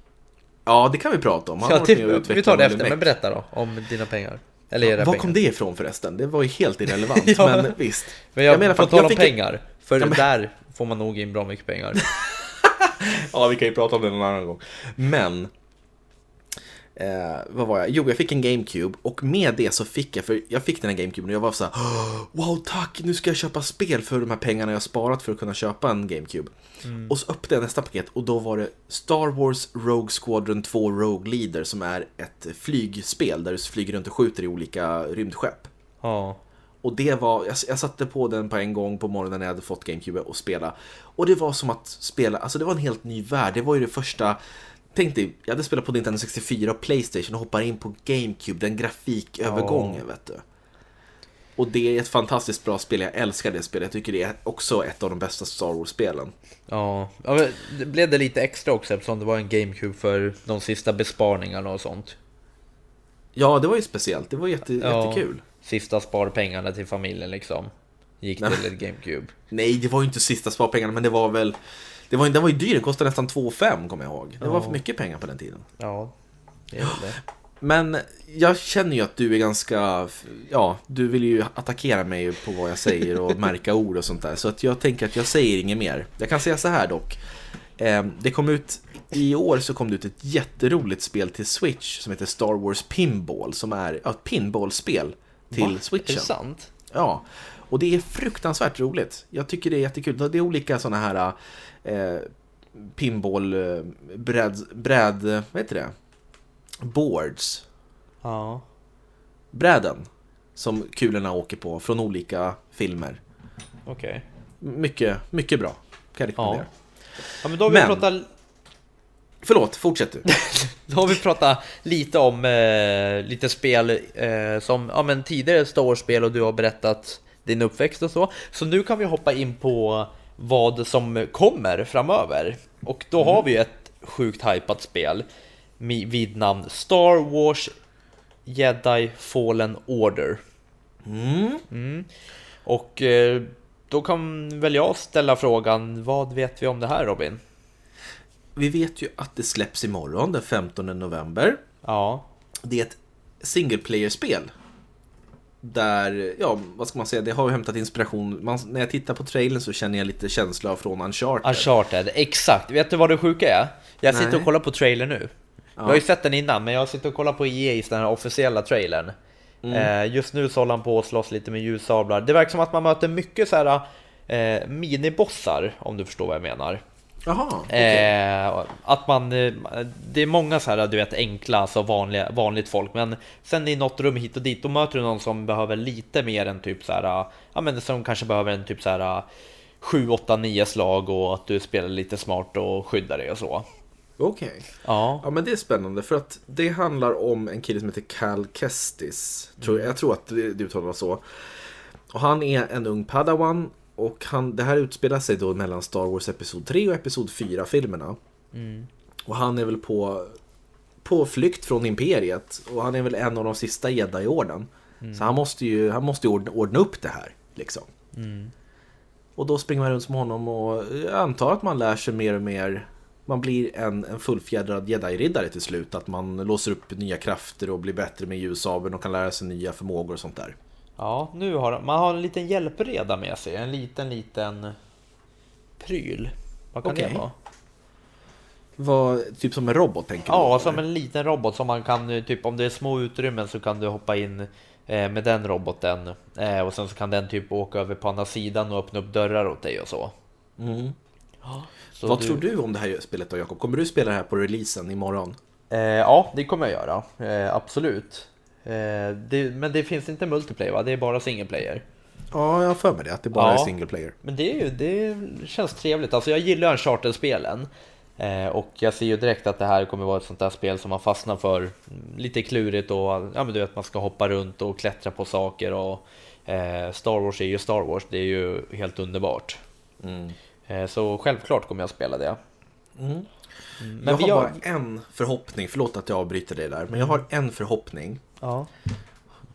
[SPEAKER 2] Ja, det kan vi prata om. Han har
[SPEAKER 1] Ja,
[SPEAKER 2] varit
[SPEAKER 1] till-
[SPEAKER 2] med och utvecklat
[SPEAKER 1] Vi tar det efter,
[SPEAKER 2] Mulle
[SPEAKER 1] men
[SPEAKER 2] Meck.
[SPEAKER 1] berätta då om dina pengar. Eller era
[SPEAKER 2] Var
[SPEAKER 1] pengar.
[SPEAKER 2] kom det ifrån förresten? Det var ju helt irrelevant,
[SPEAKER 1] Ja.
[SPEAKER 2] men visst.
[SPEAKER 1] Men jag,
[SPEAKER 2] menar
[SPEAKER 1] på
[SPEAKER 2] för att
[SPEAKER 1] tal om
[SPEAKER 2] fick-
[SPEAKER 1] pengar, för
[SPEAKER 2] Ja, men-
[SPEAKER 1] där får man nog in bra mycket pengar.
[SPEAKER 2] Ja, vi kan ju prata om det någon annan gång. Men, eh, vad var jag? Jo, jag fick en GameCube och med det så fick jag, för jag fick den här GameCuben och jag var så här, "Åh, wow tack, nu ska jag köpa spel för de här pengarna jag har sparat för att kunna köpa en GameCube.
[SPEAKER 1] Mm.
[SPEAKER 2] Och så öppnade jag nästa paket och då var det Star Wars Rogue Squadron 2 Rogue Leader som är ett flygspel där du flyger runt och skjuter i olika rymdskepp.
[SPEAKER 1] Ja.
[SPEAKER 2] Och det var, jag, jag satte på den på en gång på morgonen när jag hade fått GameCube och spela. Och det var som att spela, alltså det var en helt ny värld. Det var ju det första, tänk dig, jag hade spelat på Nintendo 64 och Playstation och hoppar in på GameCube, den grafikövergången vet du. Och det är ett fantastiskt bra spel, jag älskar det spelet. Jag tycker det är också ett av de bästa Star Wars-spelen.
[SPEAKER 1] Ja, ja men det blev det lite extra också eftersom det var en GameCube för de sista besparingarna och sånt.
[SPEAKER 2] Ja, det var ju speciellt, det var jätte,
[SPEAKER 1] Ja,
[SPEAKER 2] jättekul.
[SPEAKER 1] Sista sparpengarna till familjen liksom. Gick
[SPEAKER 2] Nej,
[SPEAKER 1] till ett GameCube.
[SPEAKER 2] Nej, det var ju inte sista sparpengarna, men det var väl, det var, den var ju dyr, den kostade nästan 2 500 kommer jag ihåg. Det var för mycket pengar på den tiden.
[SPEAKER 1] Ja, det är väl det.
[SPEAKER 2] Men jag känner ju att du är ganska, ja, du vill ju attackera mig på vad jag säger och märka ord och sånt där. Så att jag tänker att jag säger inget mer. Jag kan säga så här dock. Eh, Det kom ut, i år så kom det ut ett jätteroligt spel till Switch som heter Star Wars Pinball, som är ja, ett pinballspel till
[SPEAKER 1] Är det
[SPEAKER 2] Switchen.
[SPEAKER 1] sant?
[SPEAKER 2] Ja, och det är fruktansvärt roligt. Jag tycker det är jättekul. Det är olika sådana här eh, pinball, eh, bräd, bräd, vad heter det? Boards
[SPEAKER 1] Ja.
[SPEAKER 2] bräden som kulorna åker på från olika filmer.
[SPEAKER 1] Okej.
[SPEAKER 2] Mycket, mycket bra. Kan jag rekommendera.
[SPEAKER 1] Ja, men då har vi
[SPEAKER 2] Men-
[SPEAKER 1] pratat
[SPEAKER 2] Förlåt, fortsätt du.
[SPEAKER 1] Då har vi pratat lite om eh, lite spel eh, som ja, men tidigare Star Wars-spel och du har berättat din uppväxt och så. Så nu kan vi hoppa in på vad som kommer framöver. Och då har vi ju ett sjukt hypat spel mi- vid namn Star Wars Jedi Fallen Order.
[SPEAKER 2] Mm.
[SPEAKER 1] Och eh, då kan väl jag ställa frågan, vad vet vi om det här Robin?
[SPEAKER 2] Vi vet ju att det släpps imorgon den 15 november.
[SPEAKER 1] Ja,
[SPEAKER 2] Det är ett single player-spel. Där, ja, vad ska man säga, det har ju hämtat inspiration. Man, när jag tittar på trailern så känner jag lite känsla från Uncharted.
[SPEAKER 1] Uncharted, exakt. Vet du vad det sjuka är? Jag sitter
[SPEAKER 2] Nej.
[SPEAKER 1] och kollar på trailern nu. Jag har ju sett den innan, men jag sitter och kollar på EA's den här officiella trailern. Eh, just nu så håller han på att slåss lite med ljussablar. Det verkar som att man möter mycket så här eh, minibossar, om du förstår vad jag menar.
[SPEAKER 2] Jaha, okej.
[SPEAKER 1] Eh, att man, eh, det är många så här, du vet, enkla, alltså vanliga, vanligt folk. Men sen i något rum hit och dit, då möter du någon som behöver lite mer än typ så här, ja men som kanske behöver en typ så här 7, 8, 9 slag och att du spelar lite smart och skyddar dig och så.
[SPEAKER 2] Okej.
[SPEAKER 1] Ja,
[SPEAKER 2] Ja men det är spännande för att det handlar om en kille som heter Cal Kestis. Tror, Jag tror att det det uttalas så. Och han är en ung padawan och han, det här utspelar sig då mellan Star Wars Episod 3 och Episod 4 filmerna. Och han är väl på, på flykt från Imperiet och han är väl en av de sista jedi i orden. Så han måste ju, han måste ju ordna, ordna upp det här liksom. Och då springer man runt som honom och jag antar att man lär sig mer och mer. Man blir en, en fullfjädrad jedi-riddare till slut. Att man låser upp nya krafter och blir bättre med ljusabeln och kan lära sig nya förmågor och sånt där.
[SPEAKER 1] ja nu har man har en liten hjälpreda med sig, en liten, liten pryl. Vad kan
[SPEAKER 2] Okej.
[SPEAKER 1] det vara?
[SPEAKER 2] Vad, typ som en robot tänker du?
[SPEAKER 1] Ja,
[SPEAKER 2] eller?
[SPEAKER 1] som en liten robot som man kan, eh, typ om det är små utrymmen så kan du hoppa in eh, med den roboten. Eh, och sen så kan den typ åka över på andra sidan och öppna upp dörrar åt dig och så.
[SPEAKER 2] Mm.
[SPEAKER 1] så
[SPEAKER 2] Vad tror du om det här spelet då Jakob? Kommer du spela det här på releasen imorgon?
[SPEAKER 1] Eh, ja, det kommer jag göra. Eh, absolut. Eh, det, men det finns inte multiplayer va? Det är bara single player.
[SPEAKER 2] Ja, jag har för mig det. Att det bara
[SPEAKER 1] Ja.
[SPEAKER 2] är single player.
[SPEAKER 1] Men det, är ju, det känns trevligt. Alltså jag gillar Uncharted-spelen. Eh, och jag ser ju direkt att det här kommer vara ett sånt där spel som man fastnar för. Mm, Lite klurigt och ja, men du vet, man ska hoppa runt och klättra på saker. Och, eh, Star Wars är ju Star Wars, det är ju helt underbart.
[SPEAKER 2] Mm.
[SPEAKER 1] Eh, så självklart kommer jag spela det. Men
[SPEAKER 2] Mm. jag
[SPEAKER 1] vi
[SPEAKER 2] har
[SPEAKER 1] har-
[SPEAKER 2] bara en förhoppning, förlåt att jag avbryter dig där, men jag har en förhoppning.
[SPEAKER 1] Ja.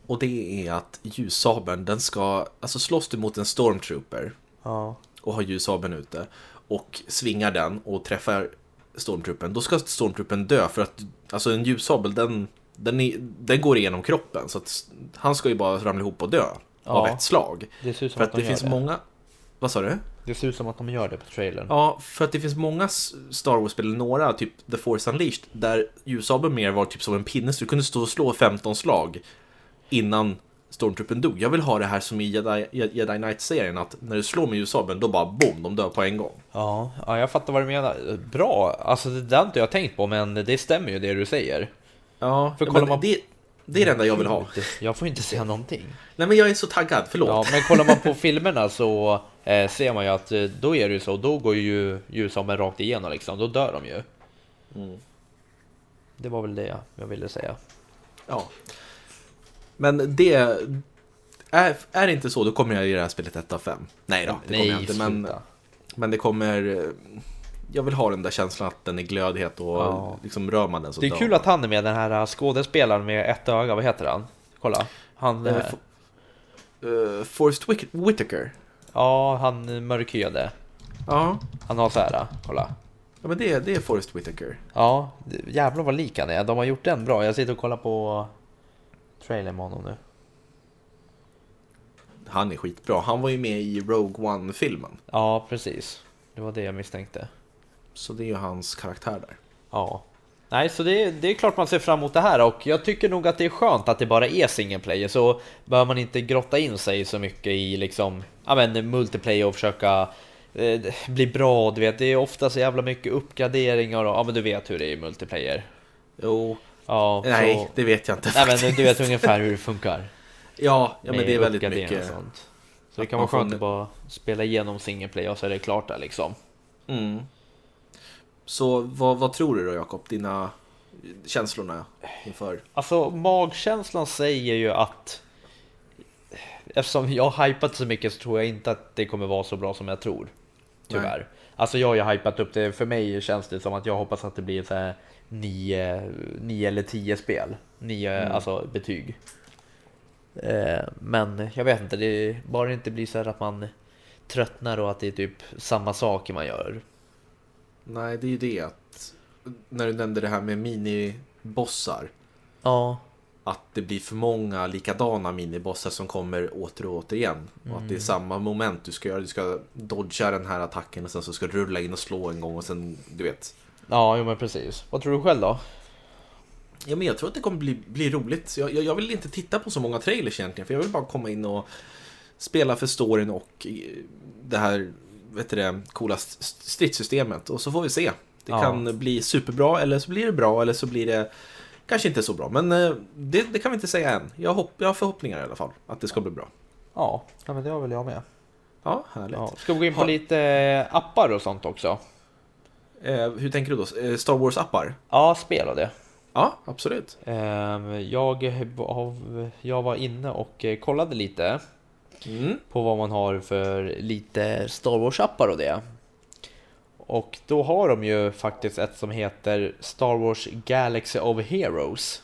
[SPEAKER 2] Och det är att ljussabeln, den ska, alltså slåss du mot en stormtrooper
[SPEAKER 1] ja.
[SPEAKER 2] och har ljussabeln ute och svingar den och träffar stormtroopen, då ska stormtroopen dö för att alltså en ljussabel den, den, är, den går igenom kroppen så att s- han ska ju bara ramla ihop och dö av
[SPEAKER 1] Ja.
[SPEAKER 2] ett slag.
[SPEAKER 1] Det ser ut som
[SPEAKER 2] För
[SPEAKER 1] att,
[SPEAKER 2] att
[SPEAKER 1] de
[SPEAKER 2] det finns
[SPEAKER 1] gör det.
[SPEAKER 2] många... Vad sa du?
[SPEAKER 1] Det ser ut som att de gör det på trailern.
[SPEAKER 2] Ja, för att det finns många s- Star Wars-spel, några, typ The Force Unleashed, där ljussabeln mer var typ som en pinne, så du kunde stå och slå 15 slag innan Stormtroopen dog. Jag vill ha det här som i Jedi, Jedi Knight-serien, att när du slår med ljussabeln, då bara boom, de dör på en gång.
[SPEAKER 1] Ja, ja, jag fattar vad du menar. Bra, alltså det där har inte jag tänkt på men det stämmer ju det du säger.
[SPEAKER 2] Ja,
[SPEAKER 1] för
[SPEAKER 2] men
[SPEAKER 1] kollar man-
[SPEAKER 2] det, det är det enda jag vill ha.
[SPEAKER 1] Jag får inte säga någonting.
[SPEAKER 2] Nej, men jag är så taggad, förlåt.
[SPEAKER 1] Ja, men kollar man på filmerna så eh, ser man ju att eh, då är det ju så, då går ju ljussabeln rakt igenom liksom, då dör de ju. Det var väl det jag- jag ville säga.
[SPEAKER 2] Ja. Men det... Är, är det inte så, då kommer jag ge det här spelet 1 av 5. Nej då, det kommer jag inte. Men,
[SPEAKER 1] sluta.
[SPEAKER 2] Men det kommer... eh, Jag vill ha den där känslan att den är glödhet och
[SPEAKER 1] Ja.
[SPEAKER 2] liksom rör man den så
[SPEAKER 1] Det är
[SPEAKER 2] dör
[SPEAKER 1] kul
[SPEAKER 2] man.
[SPEAKER 1] att han är med, den här eh, skådespelaren med ett öga, vad heter han? Kolla. Han,
[SPEAKER 2] Eh,
[SPEAKER 1] eh,
[SPEAKER 2] Fo- eh, Forrest Whit- Whitaker.
[SPEAKER 1] ja, han mörkhyade.
[SPEAKER 2] Ja.
[SPEAKER 1] Han har så här, eh, kolla.
[SPEAKER 2] ja, men det, det är Forrest Whitaker.
[SPEAKER 1] Ja, det- jävlar vad lik han är. De har gjort den bra. Jag sitter och kollar på trailern med honom nu.
[SPEAKER 2] Han är skitbra. Han var ju med i Rogue One-filmen.
[SPEAKER 1] Ja, precis. Det var det jag misstänkte.
[SPEAKER 2] Så det är ju hans karaktär där.
[SPEAKER 1] Ja. Nej, så det, det är klart man ser fram emot det här och jag tycker nog att det är skönt att det bara är single player så behöver man inte grotta in sig så mycket i liksom, ja men multiplayer och försöka eh, bli bra, du vet. Det är ofta så jävla mycket uppgraderingar och ja men du vet hur det är i multiplayer.
[SPEAKER 2] Jo,
[SPEAKER 1] Ja,
[SPEAKER 2] nej,
[SPEAKER 1] så,
[SPEAKER 2] det vet jag inte
[SPEAKER 1] nej men
[SPEAKER 2] faktiskt.
[SPEAKER 1] du vet ungefär hur det funkar.
[SPEAKER 2] Ja, ja men
[SPEAKER 1] med
[SPEAKER 2] det är väldigt
[SPEAKER 1] uppgradering
[SPEAKER 2] mycket.
[SPEAKER 1] och sånt. Så det
[SPEAKER 2] Att
[SPEAKER 1] kan
[SPEAKER 2] man
[SPEAKER 1] vara
[SPEAKER 2] får
[SPEAKER 1] skönt
[SPEAKER 2] en-
[SPEAKER 1] att bara spela igenom single play och så är det klart där liksom.
[SPEAKER 2] Mm. Så vad, vad tror du då, Jakob? Dina känslorna inför?
[SPEAKER 1] Alltså magkänslan säger ju att eftersom jag har hypat så mycket så tror jag inte att det kommer vara så bra som jag tror. Tyvärr. Alltså jag har ju hypat upp det. För mig känns det som att jag hoppas att det blir så här 9, 9 eller 10 spel. 9 alltså betyg. Eh, Men jag vet inte, det bara det inte blir så här att man tröttnar och att det är typ samma saker man gör.
[SPEAKER 2] Nej, det är ju det att när du nämnde det här med minibossar,
[SPEAKER 1] Ja,
[SPEAKER 2] att det blir för många likadana minibossar som kommer åter och åter igen. Och
[SPEAKER 1] Mm.
[SPEAKER 2] att det är samma moment du ska göra, du ska dodga den här attacken och sen så ska du rulla in och slå en gång och sen, du vet.
[SPEAKER 1] Ja, jo men precis. Vad tror du själv då?
[SPEAKER 2] Ja, men jag tror att det kommer bli, bli roligt. Så Jag, jag, jag vill inte titta på så många trailers egentligen, för jag vill bara komma in och spela för storyn och eh, det här, vet du det, coola st- stridssystemet. Och så får vi se. Det
[SPEAKER 1] Ja.
[SPEAKER 2] kan bli superbra, eller så blir det bra, eller så blir det kanske inte så bra. Men eh, det, det kan vi inte säga än. Jag, hopp, jag har förhoppningar i alla fall, att det ska bli bra.
[SPEAKER 1] Ja, ja men det har väl jag med.
[SPEAKER 2] Ja, härligt.
[SPEAKER 1] Ja. Ska vi gå in på
[SPEAKER 2] Ha-
[SPEAKER 1] lite eh, appar och sånt också?
[SPEAKER 2] Eh, hur tänker du då? Eh, Star Wars-appar?
[SPEAKER 1] Ja, spel och det.
[SPEAKER 2] Ja, absolut.
[SPEAKER 1] Ehm, Jag, har- jag var inne och eh, kollade lite
[SPEAKER 2] Mm.
[SPEAKER 1] på vad man har för lite Star Wars-appar och det. Och då har de ju faktiskt ett som heter Star Wars Galaxy of Heroes.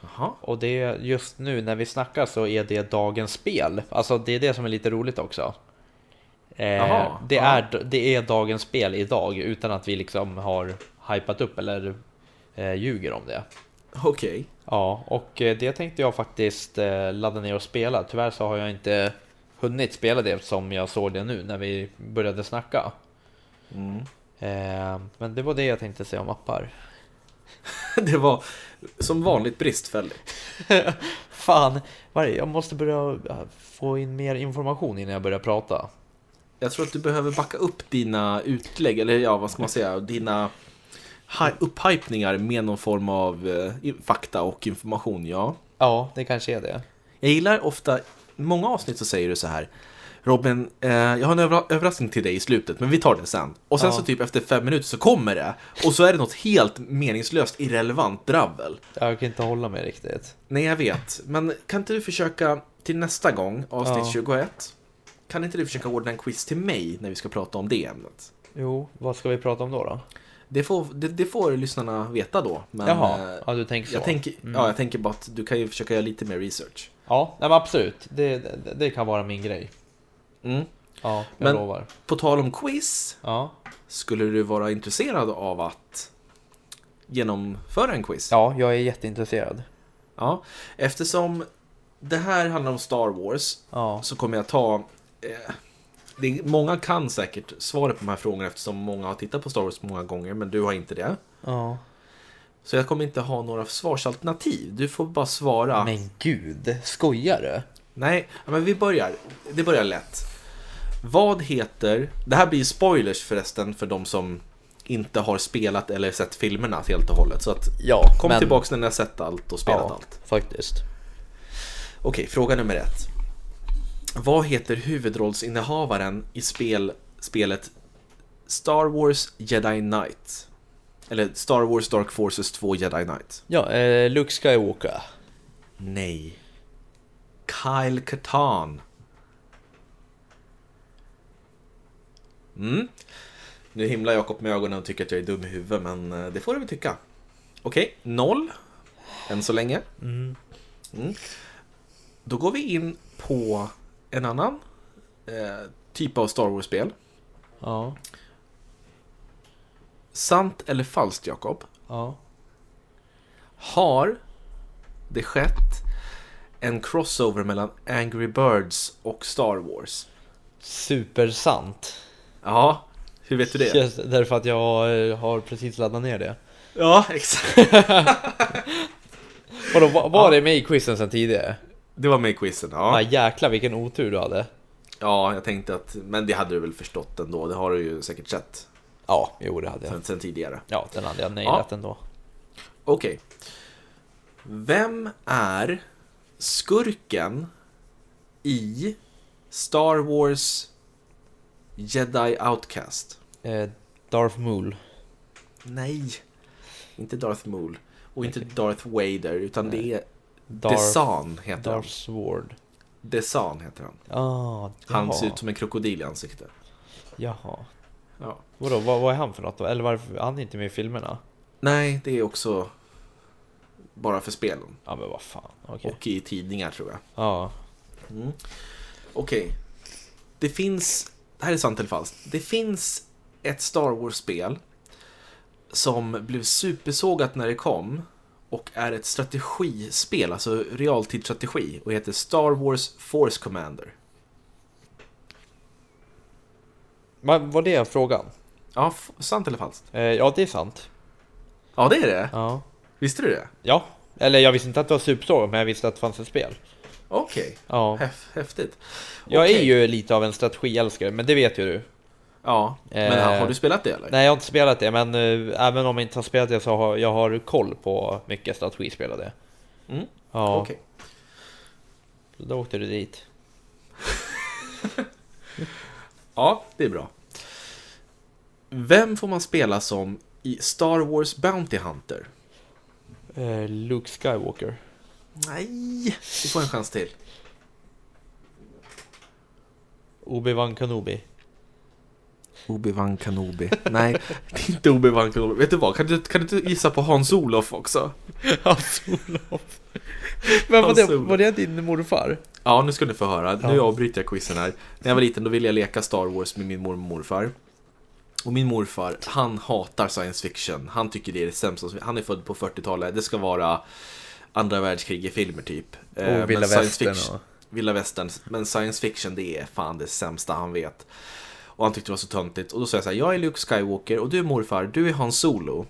[SPEAKER 2] Jaha.
[SPEAKER 1] Och det är just nu när vi snackar så är det dagens spel. Alltså det är det som är lite roligt också. Eh,
[SPEAKER 2] Jaha,
[SPEAKER 1] det,
[SPEAKER 2] ja.
[SPEAKER 1] är, det är dagens spel idag utan att vi liksom har hypat upp eller eh, ljuger om det.
[SPEAKER 2] Okej.
[SPEAKER 1] Ja, och eh, det tänkte jag faktiskt eh, ladda ner och spela. Tyvärr så har jag inte hunnit spela det som jag såg det nu när vi började snacka.
[SPEAKER 2] Mm.
[SPEAKER 1] Eh, men det var det jag tänkte säga om appar.
[SPEAKER 2] det var som vanligt bristfälligt.
[SPEAKER 1] Fan, vad är det? jag måste börja eh, få in mer information innan jag börjar prata.
[SPEAKER 2] Jag tror att du behöver backa upp dina utlägg, eller ja, vad ska man säga, dina hi- upphypningar med någon form av eh, i- fakta och information, ja.
[SPEAKER 1] Ja, det kanske är det.
[SPEAKER 2] Jag gillar ofta många avsnitt så säger du så här Robin, eh, jag har en övra- överraskning till dig i slutet, men vi tar det sen. Och sen
[SPEAKER 1] Ja.
[SPEAKER 2] så typ efter fem minuter så kommer det. Och så är det något helt meningslöst irrelevant dravel.
[SPEAKER 1] Jag kan inte hålla mig riktigt.
[SPEAKER 2] Nej, jag vet. Men kan inte du försöka till nästa gång, avsnitt
[SPEAKER 1] Ja.
[SPEAKER 2] 21? Kan inte du försöka ordna en quiz till mig när vi ska prata om det ämnet?
[SPEAKER 1] Jo, vad ska vi prata om då? då?
[SPEAKER 2] Det får, det, det får lyssnarna veta då. Men,
[SPEAKER 1] Jaha,
[SPEAKER 2] eh,
[SPEAKER 1] ja, du tänker så. Mm.
[SPEAKER 2] jag, tänker, ja, jag tänker bara att du kan ju försöka göra lite mer research.
[SPEAKER 1] Ja, nej, men absolut. Det, det, det kan vara min grej.
[SPEAKER 2] Mm.
[SPEAKER 1] Ja, jag
[SPEAKER 2] Men-
[SPEAKER 1] lovar.
[SPEAKER 2] På tal om quiz,
[SPEAKER 1] Ja.
[SPEAKER 2] skulle du vara intresserad av att genomföra en quiz?
[SPEAKER 1] ja, jag är jätteintresserad.
[SPEAKER 2] Ja, Eftersom det här handlar om Star Wars
[SPEAKER 1] Ja,
[SPEAKER 2] så kommer jag ta... Eh, det är, många kan säkert svaret på de här frågorna eftersom många har tittat på Star Wars många gånger, men du har inte det.
[SPEAKER 1] ja.
[SPEAKER 2] Så jag kommer inte ha några svarsalternativ. Du får bara svara. Nej,
[SPEAKER 1] Men gud, skojar du?
[SPEAKER 2] ja, men vi börjar. Det börjar lätt. Vad heter... Det här blir ju spoilers förresten för de som inte har spelat eller sett filmerna helt och hållet. Så att
[SPEAKER 1] Ja,
[SPEAKER 2] kom
[SPEAKER 1] men-
[SPEAKER 2] tillbaka när ni har sett allt och spelat allt.
[SPEAKER 1] faktiskt.
[SPEAKER 2] Okej, fråga nummer ett. Vad heter huvudrollsinnehavaren i spel, spelet Star Wars Jedi Knight? Eller Star Wars Dark Forces 2 Jedi Knight?
[SPEAKER 1] Ja, eh, Luke Skywalker.
[SPEAKER 2] Nej. Kyle Katarn. Mm. Nu himlar Jakob med ögonen och tycker att jag är dum i huvudet, men eh, det får du väl tycka. Okej, noll. Än så länge. Mm. Då går vi in på en annan eh, typ av Star Wars-spel.
[SPEAKER 1] Ja,
[SPEAKER 2] Sant eller falskt, Jakob?
[SPEAKER 1] ja.
[SPEAKER 2] Har det skett en crossover mellan Angry Birds och Star Wars?
[SPEAKER 1] Supersant.
[SPEAKER 2] Ja, hur vet du det?
[SPEAKER 1] Just därför att jag eh, har precis laddat ner det.
[SPEAKER 2] Ja, exakt.
[SPEAKER 1] Vadå, var, var det med i quizen sen tidigare?
[SPEAKER 2] Det var med i quizen,
[SPEAKER 1] Ja,
[SPEAKER 2] ja.
[SPEAKER 1] jäklar vilken otur du hade.
[SPEAKER 2] Ja, jag tänkte att, men det hade du väl förstått ändå. Det har du ju säkert sett
[SPEAKER 1] Ja, jo det hade jag.
[SPEAKER 2] sen, sen tidigare.
[SPEAKER 1] Ja, den hade jag nailat ändå.
[SPEAKER 2] Okej. Vem är skurken i Star Wars Jedi Outcast?
[SPEAKER 1] Eh, Darth Maul.
[SPEAKER 2] Nej, inte Darth Maul och inte Darth Vader utan det är
[SPEAKER 1] Darth-
[SPEAKER 2] Desan heter han.
[SPEAKER 1] Darth Sword.
[SPEAKER 2] Desan heter han.
[SPEAKER 1] Ah,
[SPEAKER 2] Han
[SPEAKER 1] jaha.
[SPEAKER 2] ser ut som en krokodil i ansiktet.
[SPEAKER 1] Jaha.
[SPEAKER 2] Ja.
[SPEAKER 1] Vadå, vad, vad är han för något då? Eller varför, han är inte med i filmerna?
[SPEAKER 2] Nej, det är också bara för spelen
[SPEAKER 1] Ja men vad fan, okej.
[SPEAKER 2] och i tidningar tror jag. Mm.
[SPEAKER 1] Ja.
[SPEAKER 2] Okej. Det finns, det här är sant eller falskt. Det finns ett Star Wars-spel som blev supersågat när det kom och är ett strategispel, alltså realtidsstrategi och heter Star Wars Force Commander.
[SPEAKER 1] Men var det frågan?
[SPEAKER 2] Ja, f- sant eller falskt?
[SPEAKER 1] Eh, ja, det är sant.
[SPEAKER 2] Ja, det är det.
[SPEAKER 1] Ja.
[SPEAKER 2] Visste du det?
[SPEAKER 1] Ja. Eller jag visste inte att det var supersåg, men jag visste att det fanns ett spel.
[SPEAKER 2] Okej,
[SPEAKER 1] Ja.
[SPEAKER 2] Häf- häftigt.
[SPEAKER 1] Jag är
[SPEAKER 2] Okej.
[SPEAKER 1] ju lite av en strategiälskare, men det vet ju du.
[SPEAKER 2] Ja, men
[SPEAKER 1] Eh,
[SPEAKER 2] har du spelat det eller?
[SPEAKER 1] Nej, jag har inte spelat det, men eh, även om jag inte har spelat det så har jag har koll på mycket strategispel och det.
[SPEAKER 2] Mm.
[SPEAKER 1] Ja,
[SPEAKER 2] Okej.
[SPEAKER 1] så då åkte du dit.
[SPEAKER 2] Ja, det är bra. Vem får man spela som i Star Wars Bounty Hunter?
[SPEAKER 1] Eh, Luke Skywalker.
[SPEAKER 2] Nej, du får en chans till.
[SPEAKER 1] Obi-Wan Kenobi.
[SPEAKER 2] Obi-Wan Kenobi. Nej, det är inte Obi-Wan Kenobi. Vet du vad, kan du, kan du inte gissa på Hans-Olof också?
[SPEAKER 1] Hans-Olof. Men var det,
[SPEAKER 2] Hans-Olof.
[SPEAKER 1] var det din morfar?
[SPEAKER 2] Ja, nu ska ni få höra. Nu
[SPEAKER 1] Ja.
[SPEAKER 2] avbryter jag quizen här. När jag var liten då ville jag leka Star Wars med min mormor och morfar. Och min morfar, han hatar science fiction. Han tycker det är det sämsta som- Han är född på 40-talet. Det ska vara andra världskriget-filmer typ. Eh, men
[SPEAKER 1] Vilda
[SPEAKER 2] science
[SPEAKER 1] Oh, Västern
[SPEAKER 2] fiction-
[SPEAKER 1] och-
[SPEAKER 2] Vilda västern. Men science fiction, det är fan det sämsta han vet. Och han tyckte det var så töntigt. Och då sa jag så här, jag är Luke Skywalker och du är morfar, du är Han Solo.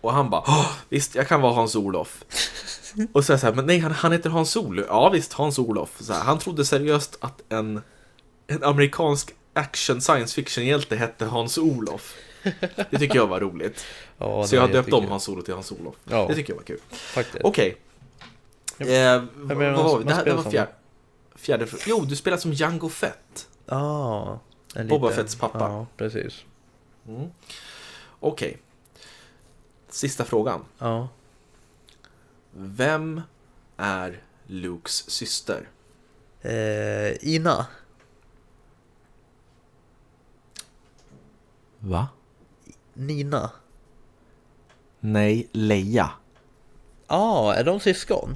[SPEAKER 2] Och han bara, "Åh, visst jag kan vara Hans Olof. Och så är jag så här, men nej han, han heter Hans Olof. Ja visst, Hans Olof. Så här, han trodde seriöst att en, en amerikansk action science fiction-hjälte hette Hans Olof. Det tycker jag var roligt.
[SPEAKER 1] Ja,
[SPEAKER 2] så
[SPEAKER 1] det
[SPEAKER 2] jag har
[SPEAKER 1] är
[SPEAKER 2] döpt om
[SPEAKER 1] jättekul,
[SPEAKER 2] Hans Olof till Hans Olof.
[SPEAKER 1] Ja.
[SPEAKER 2] Det tycker jag var kul.
[SPEAKER 1] Faktiskt.
[SPEAKER 2] Okej. Eh, vad
[SPEAKER 1] menar,
[SPEAKER 2] vad var
[SPEAKER 1] man
[SPEAKER 2] vi? Det här det
[SPEAKER 1] spelar
[SPEAKER 2] var
[SPEAKER 1] som-
[SPEAKER 2] fjärde. fjärde... fr- Jo, du spelar som Jango Fett.
[SPEAKER 1] Ah, en
[SPEAKER 2] Boba
[SPEAKER 1] liten-
[SPEAKER 2] Fetts pappa.
[SPEAKER 1] Ja, precis.
[SPEAKER 2] Okej. Sista frågan.
[SPEAKER 1] Ja.
[SPEAKER 2] Vem är Lukes syster?
[SPEAKER 1] Eh, Ina.
[SPEAKER 2] Va?
[SPEAKER 1] Nina.
[SPEAKER 2] Nej, Leia.
[SPEAKER 1] Ja, ah, är de syskon?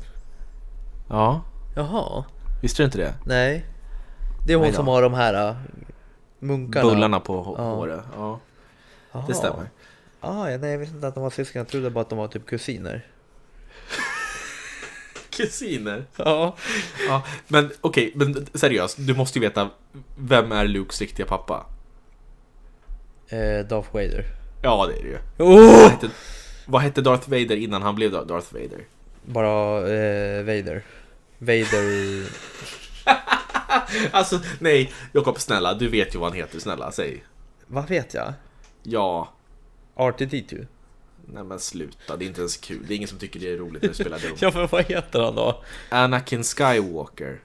[SPEAKER 2] Ja,
[SPEAKER 1] Jaha.
[SPEAKER 2] visste du inte det?
[SPEAKER 1] Nej. Det är hon
[SPEAKER 2] Nej då.
[SPEAKER 1] som har de här äh, munkarna.
[SPEAKER 2] Bullarna på hå-
[SPEAKER 1] Ja.
[SPEAKER 2] håret. Ja,
[SPEAKER 1] Jaha.
[SPEAKER 2] det stämmer.
[SPEAKER 1] Ah, ja, nej, jag visste inte att de var syskon. Jag trodde bara att de var typ kusiner.
[SPEAKER 2] Kusiner.
[SPEAKER 1] Ja.
[SPEAKER 2] Ja, men okej, men seriöst. Du måste ju veta, vem är Lukes riktiga pappa?
[SPEAKER 1] Eh, Darth Vader.
[SPEAKER 2] Ja, det är det ju.
[SPEAKER 1] Oh!
[SPEAKER 2] Hette, vad hette Darth Vader innan han blev Dar- Darth Vader?
[SPEAKER 1] Bara eh, Vader. Vader i...
[SPEAKER 2] Alltså, nej, Jakob, snälla, du vet ju vad han heter, snälla, säg.
[SPEAKER 1] Vad vet jag?
[SPEAKER 2] Ja,
[SPEAKER 1] R2D2?
[SPEAKER 2] nej men sluta, det är inte ens kul. Det är ingen som tycker det är roligt när du spelar dum.
[SPEAKER 1] Ja, men vad heter han då?
[SPEAKER 2] Anakin Skywalker.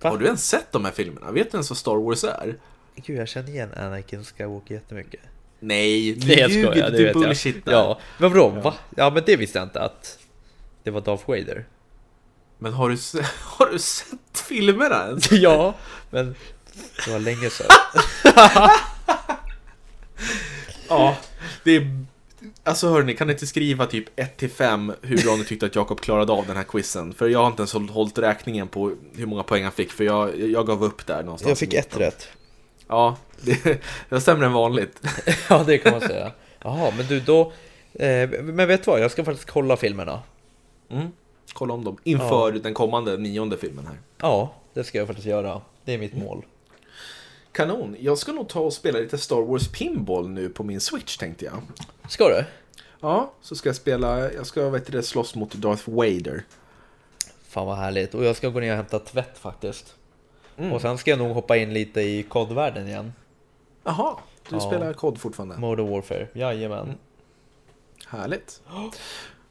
[SPEAKER 1] Va?
[SPEAKER 2] Har du ens sett de här filmerna? Vet du ens vad Star Wars är?
[SPEAKER 1] Gud, jag känner igen Anakin Skywalker jättemycket.
[SPEAKER 2] Nej, nu
[SPEAKER 1] Nej, jag
[SPEAKER 2] ljuger
[SPEAKER 1] skojar.
[SPEAKER 2] du,
[SPEAKER 1] Det
[SPEAKER 2] du
[SPEAKER 1] vet
[SPEAKER 2] bullshittar.
[SPEAKER 1] jag. Ja, men vadå? Va? Ja, men det visste jag inte att det var Darth Vader.
[SPEAKER 2] Men har du, se- har du sett filmerna ens?
[SPEAKER 1] ja, men det var länge sedan.
[SPEAKER 2] Ja, det är... Alltså hörni, kan ni inte skriva typ 1-5 hur bra ni tyckte att Jakob klarade av den här quizen? För jag har inte ens håll- hållit räkningen på hur många poäng han fick, för jag, jag gav upp där någonstans.
[SPEAKER 1] Jag fick ett rätt.
[SPEAKER 2] Ja, det, det var sämre än vanligt.
[SPEAKER 1] Ja, det kan man säga. Jaha, men du då... Eh, men vet du vad? Jag ska faktiskt kolla filmerna.
[SPEAKER 2] Mm. Kolla om dem inför den kommande nionde filmen här.
[SPEAKER 1] Ja, det ska jag faktiskt göra. Det är mitt mål.
[SPEAKER 2] Kanon, jag ska nog ta och spela lite Star Wars Pinball nu på min Switch tänkte jag.
[SPEAKER 1] Ska du?
[SPEAKER 2] Ja, så ska jag spela, jag ska vet du, det, slåss mot Darth Vader.
[SPEAKER 1] Fan vad härligt. Och jag ska gå ner och hämta tvätt faktiskt. Och sen ska jag nog hoppa in lite i kodvärlden igen.
[SPEAKER 2] Jaha, du
[SPEAKER 1] Ja.
[SPEAKER 2] spelar kod fortfarande?
[SPEAKER 1] Modern Warfare, jajamän.
[SPEAKER 2] Härligt.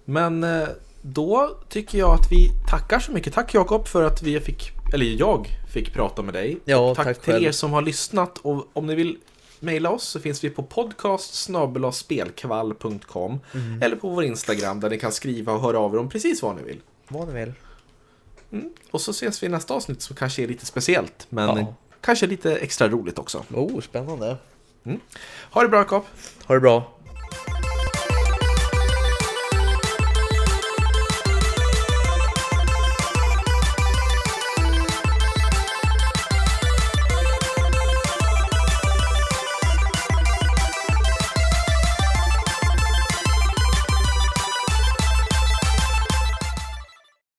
[SPEAKER 2] Men eh, då tycker jag att vi tackar så mycket. Tack Jakob för att vi fick, eller jag fick prata med dig.
[SPEAKER 1] Ja,
[SPEAKER 2] Och tack,
[SPEAKER 1] tack
[SPEAKER 2] till
[SPEAKER 1] själv.
[SPEAKER 2] er som har lyssnat. Och om ni vill mejla oss så finns vi på podcast spelkvall.com
[SPEAKER 1] Mm.
[SPEAKER 2] eller på vår Instagram där ni kan skriva och höra av er om precis vad ni vill.
[SPEAKER 1] Vad ni vill.
[SPEAKER 2] Och så ses vi i nästa avsnitt som kanske är lite speciellt men
[SPEAKER 1] Ja.
[SPEAKER 2] eh, kanske lite extra roligt också.
[SPEAKER 1] Oh, spännande.
[SPEAKER 2] Ha det bra Jakob!
[SPEAKER 1] Ha det bra.